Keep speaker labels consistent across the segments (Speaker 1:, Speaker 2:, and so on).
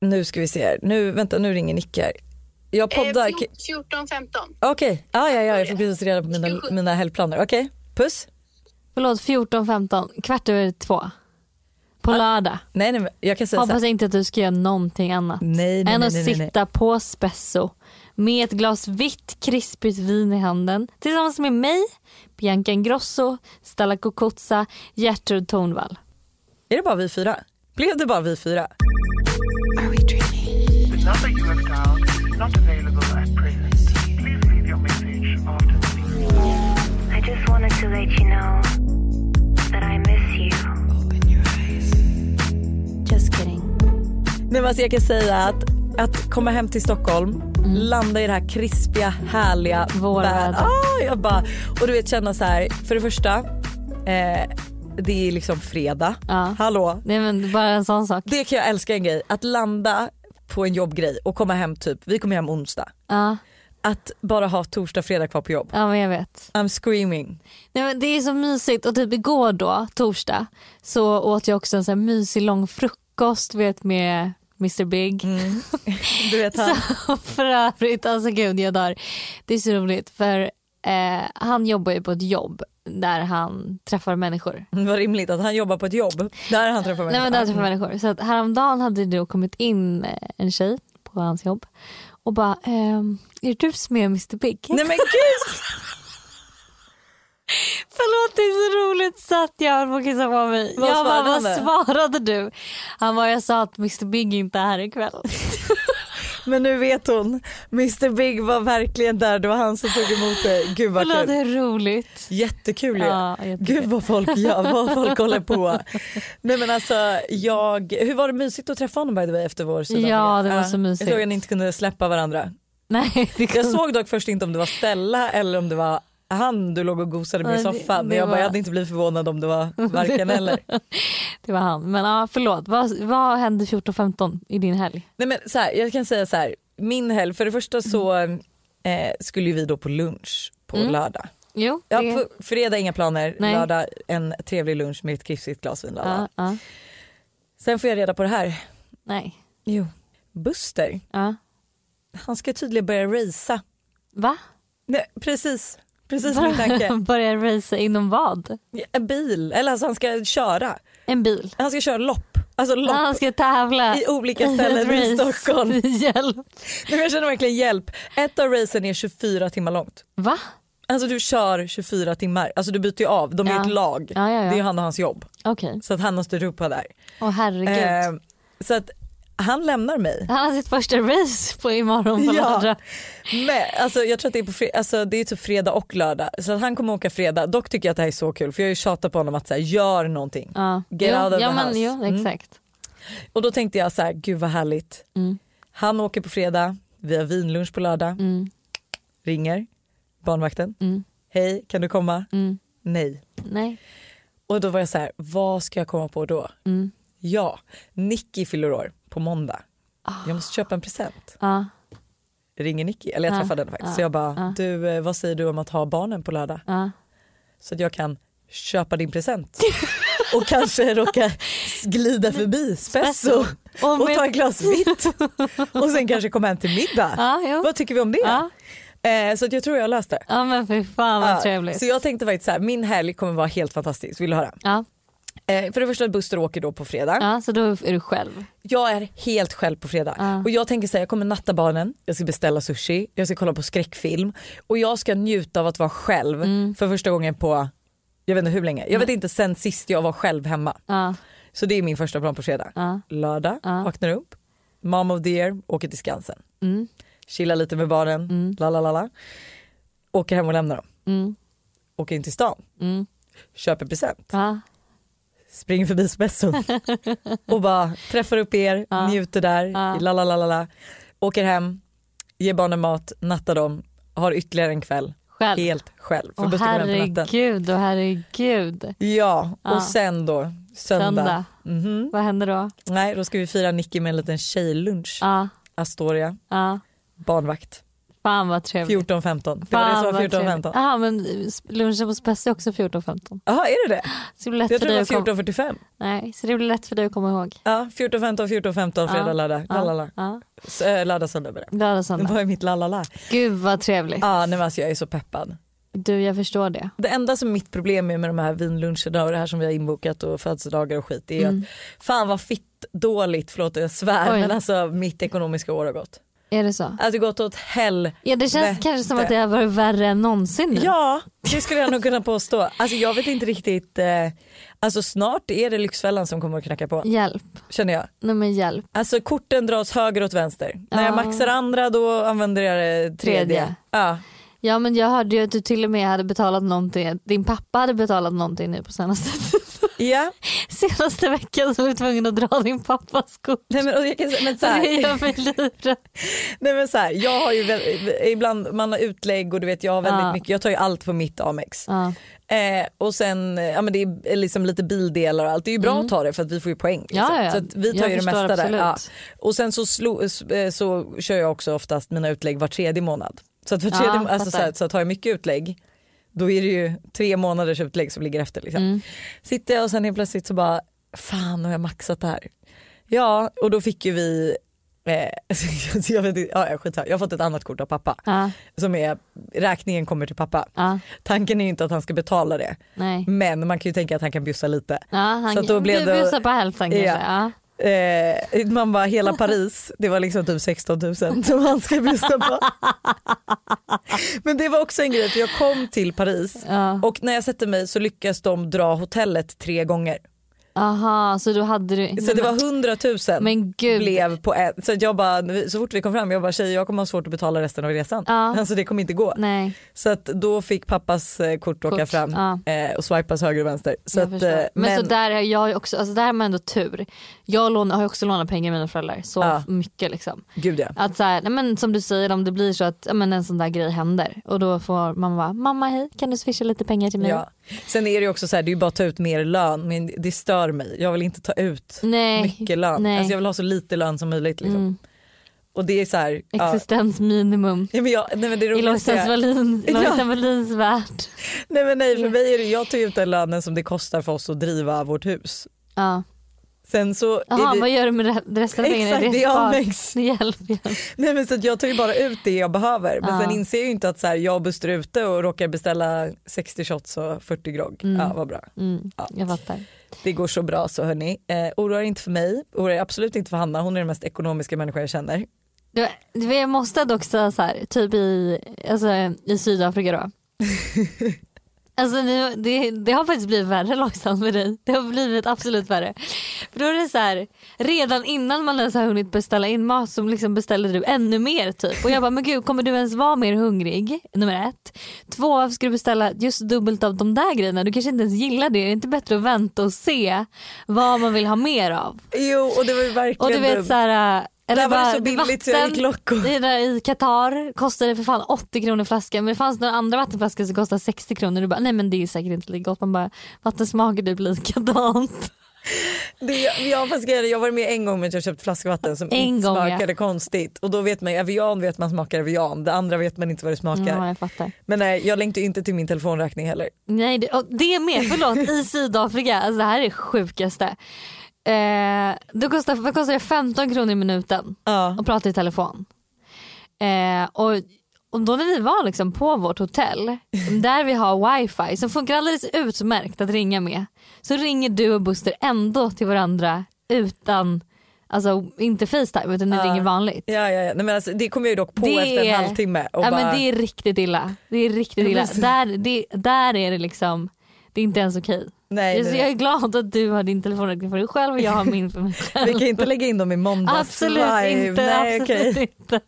Speaker 1: Nu ska vi se här. Nu, vänta, nu ringer Nick här. Jag poddar.
Speaker 2: Eh, 14, 15.
Speaker 1: Okej, ah, ja, ja, jag får precis reda på mina, mina helgplaner. Okej, puss.
Speaker 3: Förlåt, 14.15, kvart över två. På lördag.
Speaker 1: Nej, nej, men jag kan säga så
Speaker 3: Hoppas
Speaker 1: här.
Speaker 3: inte att du ska göra någonting annat.
Speaker 1: Nej, nej,
Speaker 3: än
Speaker 1: nej,
Speaker 3: att
Speaker 1: nej, nej,
Speaker 3: sitta
Speaker 1: nej.
Speaker 3: på Spesso med ett glas vitt krispigt vin i handen tillsammans med mig, Bianca Ingrosso, Stella Kokotsa, Gertrud Tornvall.
Speaker 1: Är det bara vi fyra? Blev det bara vi fyra?
Speaker 4: The number you have dialed is not available at present. Please leave your message after the beep.
Speaker 5: I just wanted to let you know that I miss you. Just kidding.
Speaker 1: Nej, men alltså jag kan säga att, att komma hem till Stockholm, landa i det här krispiga, härliga
Speaker 3: Vårvädret.
Speaker 1: vä- Ah, jag bara, och du vet känna så här, för det första, eh, det är liksom fredag.
Speaker 3: Ja.
Speaker 1: Hallå,
Speaker 3: Nej men bara en sån sak.
Speaker 1: det kan jag älska en grej, att landa på en jobbgrej och komma hem typ, vi kommer hem onsdag.
Speaker 3: Ja,
Speaker 1: Att bara ha torsdag, fredag kvar på jobb.
Speaker 3: ja men jag vet.
Speaker 1: I'm screaming.
Speaker 3: Nej, men det är så mysigt och typ igår då, torsdag, så åt jag också en sån här mysig lång frukost vet, med Mr Big.
Speaker 1: Mm. Du vet han,
Speaker 3: Så, för övrigt, alltså gud jag dör. Det är så roligt för eh, han jobbar ju på ett jobb där han träffar människor.
Speaker 1: det var rimligt att han jobbar på ett jobb där han träffar
Speaker 3: Nej men där träffar människor. Så att häromdagen hade det då kommit in eh, en tjej på hans jobb och bara, ehm, är det du som är Mr Big?
Speaker 1: Nej men gud!
Speaker 3: Förlåt det är så roligt så att jag höll på att kissa på mig.
Speaker 1: Vad
Speaker 3: jag bara, vad
Speaker 1: svarade han?
Speaker 3: svarade du? Han bara, jag sa att Mr Big inte är här ikväll.
Speaker 1: Men nu vet hon, Mr Big var verkligen där, det var han som tog emot dig. Gud vad
Speaker 3: Förlåt det
Speaker 1: kul.
Speaker 3: är roligt.
Speaker 1: Jättekul ju.
Speaker 3: Ja, jättekul.
Speaker 1: Gud vad folk gör, vad folk håller på. Nej men alltså jag, hur var det mysigt att träffa honom by the way efter vår Sydafrika?
Speaker 3: Ja, det var
Speaker 1: Ja,
Speaker 3: så mysigt.
Speaker 1: Jag såg att ni inte kunde släppa varandra.
Speaker 3: Nej, det
Speaker 1: Jag såg dock först inte om det var Stella eller om det var han du låg och gosade med i
Speaker 3: Ja, det-
Speaker 1: soffan.
Speaker 3: det
Speaker 1: Men jag bara,
Speaker 3: var-
Speaker 1: jag hade inte blivit förvånad om det var varken eller.
Speaker 3: Det var han. Men ja, förlåt. Vad, vad hände 14-15 i din helg?
Speaker 1: Nej men så här, jag kan säga så här, min helg, för det första så eh, skulle ju vi då på lunch på lördag.
Speaker 3: Jo,
Speaker 1: Ja,
Speaker 3: Mm. det-
Speaker 1: på fredag inga planer,
Speaker 3: Nej.
Speaker 1: lördag en trevlig lunch med ett krispigt glas vin.
Speaker 3: ja,
Speaker 1: Ja.
Speaker 3: ja.
Speaker 1: Sen får jag reda på det här.
Speaker 3: Nej.
Speaker 1: Jo. Buster,
Speaker 3: Ja.
Speaker 1: han ska tydligen börja racea.
Speaker 3: Va?
Speaker 1: Nej, precis, precis min tanke.
Speaker 3: Börja racea inom vad?
Speaker 1: En bil, eller alltså han ska köra.
Speaker 3: En bil?
Speaker 1: Han ska köra lopp, alltså lopp
Speaker 3: Han ska tävla
Speaker 1: i olika
Speaker 3: ett
Speaker 1: ställen i
Speaker 3: race.
Speaker 1: Stockholm. Nej,
Speaker 3: Hjälp.
Speaker 1: men jag känner verkligen hjälp. Ett av racen är 24 timmar långt.
Speaker 3: Va?
Speaker 1: Alltså du kör 24 timmar, alltså du byter ju av, de är
Speaker 3: Ja.
Speaker 1: ett lag.
Speaker 3: Ja, ja, ja.
Speaker 1: Det är ju han och hans jobb.
Speaker 3: Okej.
Speaker 1: Så att han har styrt upp där.
Speaker 3: Åh herregud.
Speaker 1: Eh, så att han lämnar mig.
Speaker 3: Han har sitt första race på imorgon på
Speaker 1: Ja.
Speaker 3: lördag.
Speaker 1: Men, alltså, jag tror att det är, på fre- alltså, det är typ fredag och lördag. Så att han kommer åka fredag. Dock tycker jag att det här är så kul för jag har ju tjatat på honom att så här, gör någonting.
Speaker 3: Ja.
Speaker 1: Get
Speaker 3: jo,
Speaker 1: out of
Speaker 3: ja,
Speaker 1: the
Speaker 3: men,
Speaker 1: house.
Speaker 3: Jo,
Speaker 1: Mm.
Speaker 3: exakt.
Speaker 1: Och då tänkte jag så här, gud vad härligt.
Speaker 3: Mm.
Speaker 1: Han åker på fredag, vi har vinlunch på lördag.
Speaker 3: Mm.
Speaker 1: Ringer barnvakten. Hej, kan du komma?
Speaker 3: Mm.
Speaker 1: Nej.
Speaker 3: Nej.
Speaker 1: Och då var jag så här, vad ska jag komma på då?
Speaker 3: Mm.
Speaker 1: Ja, Nicky fyller år på måndag. Jag måste köpa en present.
Speaker 3: Ja.
Speaker 1: Ringer Nicky, eller jag
Speaker 3: Ja,
Speaker 1: träffade henne faktiskt.
Speaker 3: ja,
Speaker 1: Så jag bara, du eh, vad säger du om att ha barnen på lördag?
Speaker 3: Ja.
Speaker 1: Så att jag kan köpa din present. och kanske råka glida förbi Spesso
Speaker 3: Och
Speaker 1: och,
Speaker 3: med-
Speaker 1: ta ett glas vitt. och sen kanske komma hem till middag.
Speaker 3: Ja, jo.
Speaker 1: Vad tycker vi om det?
Speaker 3: Ja.
Speaker 1: Eh, så att jag tror jag löste det.
Speaker 3: ja men för fan vad
Speaker 1: Ja,
Speaker 3: trevligt.
Speaker 1: Så jag tänkte faktiskt så här, min helg kommer vara helt fantastisk. Vill du höra?
Speaker 3: Ja.
Speaker 1: Eh, för det första, Buster åker då på fredag.
Speaker 3: ja, så då är du själv.
Speaker 1: Jag är helt själv på fredag.
Speaker 3: Ja.
Speaker 1: Och jag tänker säga, jag kommer natta barnen, jag ska beställa sushi, jag ska kolla på skräckfilm och jag ska njuta av att vara själv
Speaker 3: Mm.
Speaker 1: för första gången på, jag vet inte hur länge, jag vet inte sen sist jag var själv hemma.
Speaker 3: Ja.
Speaker 1: Så det är min första plan på fredag.
Speaker 3: Ja.
Speaker 1: Lördag, vaknar upp, mom of the year, åker till Skansen.
Speaker 3: Mm.
Speaker 1: Chillar lite med barnen, la la la la. Åker hem och lämnar dem.
Speaker 3: Mm.
Speaker 1: Åker in till stan,
Speaker 3: Mm.
Speaker 1: köper present
Speaker 3: Ja.
Speaker 1: springer förbi Spesso och bara träffar upp er, njuter där,
Speaker 3: Ja.
Speaker 1: la la la la la. Åker hem, ger barnen mat, nattar dem, har ytterligare en kväll
Speaker 3: Själv.
Speaker 1: helt själv. För
Speaker 3: Åh
Speaker 1: Buster kommer hem på natten.
Speaker 3: herregud, åh herregud.
Speaker 1: Ja,
Speaker 3: Ja.
Speaker 1: och sen då söndag.
Speaker 3: Söndag.
Speaker 1: Mhm.
Speaker 3: Vad händer då?
Speaker 1: Nej, då ska vi fira Nicky med en liten tjejlunch.
Speaker 3: Ja,
Speaker 1: Astoria,
Speaker 3: ja.
Speaker 1: barnvakt.
Speaker 3: Fan vad trevligt.
Speaker 1: 14.15. Det var det som var 14.15.
Speaker 3: Jaha men eh, lunchen på Spes är också 14.15.
Speaker 1: Jaha är det det?
Speaker 3: Så det blir lätt
Speaker 1: Jag
Speaker 3: för
Speaker 1: trodde
Speaker 3: dig
Speaker 1: det
Speaker 3: att komma...
Speaker 1: var 14.45.
Speaker 3: Nej, så det blir lätt för dig att komma ihåg.
Speaker 1: Ja 14.15, 14.15 fredag,
Speaker 3: Ja,
Speaker 1: lördag.
Speaker 3: Ja,
Speaker 1: Lalala.
Speaker 3: ja.
Speaker 1: S- eh, Lördag, söndag blir det.
Speaker 3: Lördag,
Speaker 1: Det
Speaker 3: söndag.
Speaker 1: var ju mitt lalala.
Speaker 3: Gud vad trevligt.
Speaker 1: Ja nej men alltså jag är så peppad.
Speaker 3: Du jag förstår det.
Speaker 1: Det enda som mitt problem är med de här vinluncherna och det här som vi har inbokat och födelsedagar och skit det är ju att fan vad fitt dåligt, förlåt att jag svär
Speaker 3: Mm. Oj.
Speaker 1: men alltså mitt ekonomiska år har gått.
Speaker 3: Är det så?
Speaker 1: Alltså gått åt hell.
Speaker 3: Ja det känns
Speaker 1: Vete.
Speaker 3: kanske som att det har varit värre än någonsin nu.
Speaker 1: Ja det skulle jag nog kunna påstå. Alltså jag vet inte riktigt, eh, alltså snart är det Lyxfällan som kommer att knacka på
Speaker 3: Hjälp.
Speaker 1: känner jag.
Speaker 3: Nej men hjälp.
Speaker 1: Alltså korten dras höger åt vänster. När jag
Speaker 3: Ja.
Speaker 1: maxar andra då använder jag det tredje.
Speaker 3: Tredje.
Speaker 1: Ja.
Speaker 3: Ja men jag hörde ju att du till och med hade betalat någonting. Din pappa hade betalat någonting nu på senaste
Speaker 1: ja.
Speaker 3: Senaste veckan så var du tvungen att dra din pappas kort.
Speaker 1: Nej, men, och jag kan, säga- men så
Speaker 3: Så
Speaker 1: här.
Speaker 3: det gör mig livrädd.
Speaker 1: Nej men så här, jag har ju vä- ibland, man har utlägg och du vet jag har väldigt
Speaker 3: Ja.
Speaker 1: mycket, jag tar ju allt på mitt Amex.
Speaker 3: Ja.
Speaker 1: Eh, och sen, eh, ja men det är liksom lite bildelar och allt, det är ju bra att ta det för att vi får ju poäng. Liksom.
Speaker 3: Mm. Ja, ja.
Speaker 1: Så att vi tar
Speaker 3: Jag
Speaker 1: ju det
Speaker 3: förstår
Speaker 1: mesta där.
Speaker 3: absolut.
Speaker 1: Ja. Och sen så, slo, s- eh, så kör jag också oftast mina utlägg var tredje månad. Så att var
Speaker 3: Ja,
Speaker 1: tredje, må- alltså,
Speaker 3: fattar.
Speaker 1: så, här, så att har jag mycket utlägg då är det ju tre månaders utlägg som ligger efter. Liksom.
Speaker 3: Mm.
Speaker 1: Sitter jag och sen helt plötsligt så bara, fan har jag maxat det här? Ja och då fick ju vi Eh, så jag, vet, inte- ja, skit här. jag har fått ett annat kort av pappa
Speaker 3: Ja.
Speaker 1: som är räkningen kommer till pappa.
Speaker 3: Ja.
Speaker 1: Tanken är ju inte att han ska betala det
Speaker 3: Nej.
Speaker 1: men man kan ju tänka att han kan bjussa lite.
Speaker 3: Ja, han
Speaker 1: Så att då blev
Speaker 3: bu-
Speaker 1: det-
Speaker 3: busar på hälften kanske.
Speaker 1: Ja.
Speaker 3: Ja.
Speaker 1: Eh, man bara hela Paris, det var liksom typ 16 000 som han ska bjussa på. Men det var också en grej för jag kom till Paris
Speaker 3: Ja.
Speaker 1: och när jag sätter mig så lyckas de dra hotellet tre gånger.
Speaker 3: Aha, så då hade du...
Speaker 1: Så det var 100 000
Speaker 3: Men gud.
Speaker 1: blev på en. Så att jag bara, så fort vi kom fram jag bara tjejer jag kommer ha svårt att betala resten av resan.
Speaker 3: Ja.
Speaker 1: Alltså det kommer inte gå.
Speaker 3: Nej,
Speaker 1: Så att då fick pappas eh, kort åka
Speaker 3: Kort,
Speaker 1: fram
Speaker 3: ja.
Speaker 1: eh, och swipas höger och vänster. Så
Speaker 3: jag
Speaker 1: att,
Speaker 3: förstår.
Speaker 1: eh,
Speaker 3: Men, så där, är jag ju också, alltså där har man ändå tur. Jag lånar, har ju också lånat pengar av mina föräldrar så
Speaker 1: Ja.
Speaker 3: mycket. Liksom.
Speaker 1: gud ja.
Speaker 3: Att så här, nej men som du säger om det blir så att ja men en sån där grej händer och då får man vara mamma hej kan du swisha lite pengar till mig?
Speaker 1: ja. Sen är det ju också så här, det är ju bara att ta ut mer lön men det stör mig. Jag vill inte ta ut
Speaker 3: Nej.
Speaker 1: mycket lön.
Speaker 3: Nej. Mm.
Speaker 1: Alltså jag vill ha så lite lön som möjligt. Liksom. Och det är så här, ja.
Speaker 3: Existensminimum
Speaker 1: Ja, men jag, nej men det
Speaker 3: i
Speaker 1: roligaste
Speaker 3: Lojsan
Speaker 1: är,
Speaker 3: Wallin,
Speaker 1: Ja.
Speaker 3: Lojsan Wallins värld.
Speaker 1: nej men nej för mig är det, jag tar ju ut den lönen som det kostar för oss att driva vårt hus.
Speaker 3: Ja.
Speaker 1: Sen så
Speaker 3: Jaha,
Speaker 1: är det,
Speaker 3: vad gör du med re- resten av pengarna?
Speaker 1: Exakt, det är Amex.
Speaker 3: spar? Hjälp, hjälp.
Speaker 1: nej men så att jag tar ju bara ut det jag behöver men
Speaker 3: Ja.
Speaker 1: sen inser jag ju inte att så här, jag och Buster är ute och råkar beställa 60 shots och 40 grogg. Ja vad bra.
Speaker 3: Mm,
Speaker 1: Ja.
Speaker 3: Jag fattar.
Speaker 1: Det går så bra så hörni. Eh, oroa er inte för mig, oroa er absolut inte för Hanna, hon är den mest ekonomiska människa jag känner.
Speaker 3: Du, du, jag måste dock säga så här, typ i, alltså, i Sydafrika då. Alltså nu, det, det har faktiskt blivit värre långsamt med dig. Det har blivit absolut värre. För då är det så här, redan innan man ens har hunnit beställa in mat så liksom beställer du ännu mer typ. Och jag bara, men gud kommer du ens vara mer hungrig? Nummer ett. Två, varför ska du beställa just dubbelt av de där grejerna? Du kanske inte ens gillar det. Är det inte bättre att vänta och se vad man vill ha mer av?
Speaker 1: Jo och det var ju verkligen
Speaker 3: Och du
Speaker 1: dumt.
Speaker 3: vet såhär,
Speaker 1: Där var det så billigt så jag gick locko.
Speaker 3: i, där i Qatar kostade det för fan 80 kronor flaskan men det fanns några andra vattenflaskor som kostade 60 kronor du bara nej men det är säkert inte lika gott man bara vatten smakar typ likadant.
Speaker 1: Det, jag, fast grejen är, jag var med en gång men jag köpte flaskvatten som
Speaker 3: En
Speaker 1: inte
Speaker 3: gång, ja.
Speaker 1: smakade konstigt och då vet man Evian vet man smakar Evian, det andra vet man inte vad det smakar.
Speaker 3: Ja jag fattar.
Speaker 1: Men nej jag längtar ju inte till min telefonräkning heller.
Speaker 3: Nej det, och det med förlåt i Sydafrika alltså det här är det sjukaste. Eh, då kostar, vad kostar det 15 kronor i minuten
Speaker 1: Ja.
Speaker 3: och prata i telefon. Eh, och, och då när vi var liksom på vårt hotell där vi har wifi som funkar alldeles utmärkt att ringa med så ringer du och Buster ändå till varandra utan, alltså inte Facetime utan ni
Speaker 1: Ja.
Speaker 3: ringer vanligt.
Speaker 1: Ja, ja, ja. Nej, men alltså, det kom jag ju dock på
Speaker 3: Det
Speaker 1: efter en
Speaker 3: är-
Speaker 1: halvtimme. Och
Speaker 3: Ja,
Speaker 1: bara,
Speaker 3: men det är riktigt illa. Det är riktigt
Speaker 1: Ja,
Speaker 3: illa.
Speaker 1: precis.
Speaker 3: Där, det, där är det liksom, det är inte ens okej.
Speaker 1: nej,
Speaker 3: Så
Speaker 1: nej,
Speaker 3: alltså, jag är
Speaker 1: nej.
Speaker 3: glad att du har din telefonräkning för dig själv och jag har min för mig själv.
Speaker 1: Vi kan inte lägga in dem i måndags
Speaker 3: Absolut
Speaker 1: live.
Speaker 3: inte.
Speaker 1: nej,
Speaker 3: absolut
Speaker 1: okej.
Speaker 3: inte.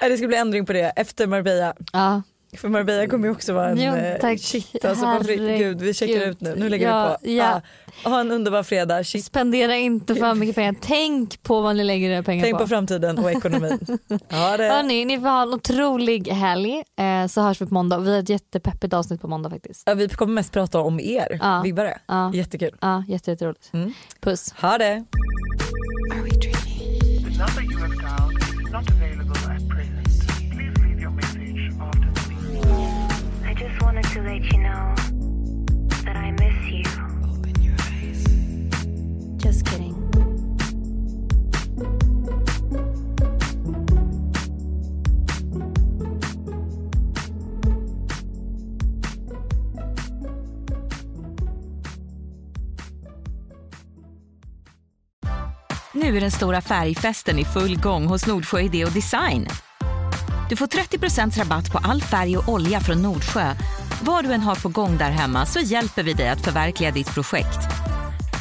Speaker 1: Nej, Det ska bli ändring på det efter Marbella.
Speaker 3: Ja.
Speaker 1: För Marbella kommer ju också vara en
Speaker 3: Jo,
Speaker 1: eh,
Speaker 3: tack.
Speaker 1: shit alltså man fri,
Speaker 3: Herregud.
Speaker 1: gud vi checkar ut nu, nu lägger
Speaker 3: Ja,
Speaker 1: vi på.
Speaker 3: ja.
Speaker 1: Ah, ha en underbar fredag, shit.
Speaker 3: Spendera inte för mycket pengar. Tänk på vad ni lägger era pengar
Speaker 1: Typ. Tänk på
Speaker 3: på.
Speaker 1: framtiden och ekonomin. Ha det.
Speaker 3: Hörni, ni får ha en otrolig helg eh, så hörs vi på måndag. Vi har ett jättepeppigt avsnitt på måndag faktiskt.
Speaker 1: Ja, vi kommer mest prata om er
Speaker 3: Ja.
Speaker 1: vibbare.
Speaker 3: Ja.
Speaker 1: Jättekul.
Speaker 3: Ja, jätte, jätteroligt.
Speaker 1: Mm.
Speaker 3: Puss.
Speaker 1: Ha det.
Speaker 4: The number you have dialed is not available at present. Please
Speaker 1: Nu är den stora färgfesten i full gång hos Nordsjö Idé och Design. Du får 30 rabatt på all färg och olja från Nordsjö. Vad du än har på gång där hemma så hjälper vi dig att förverkliga ditt projekt.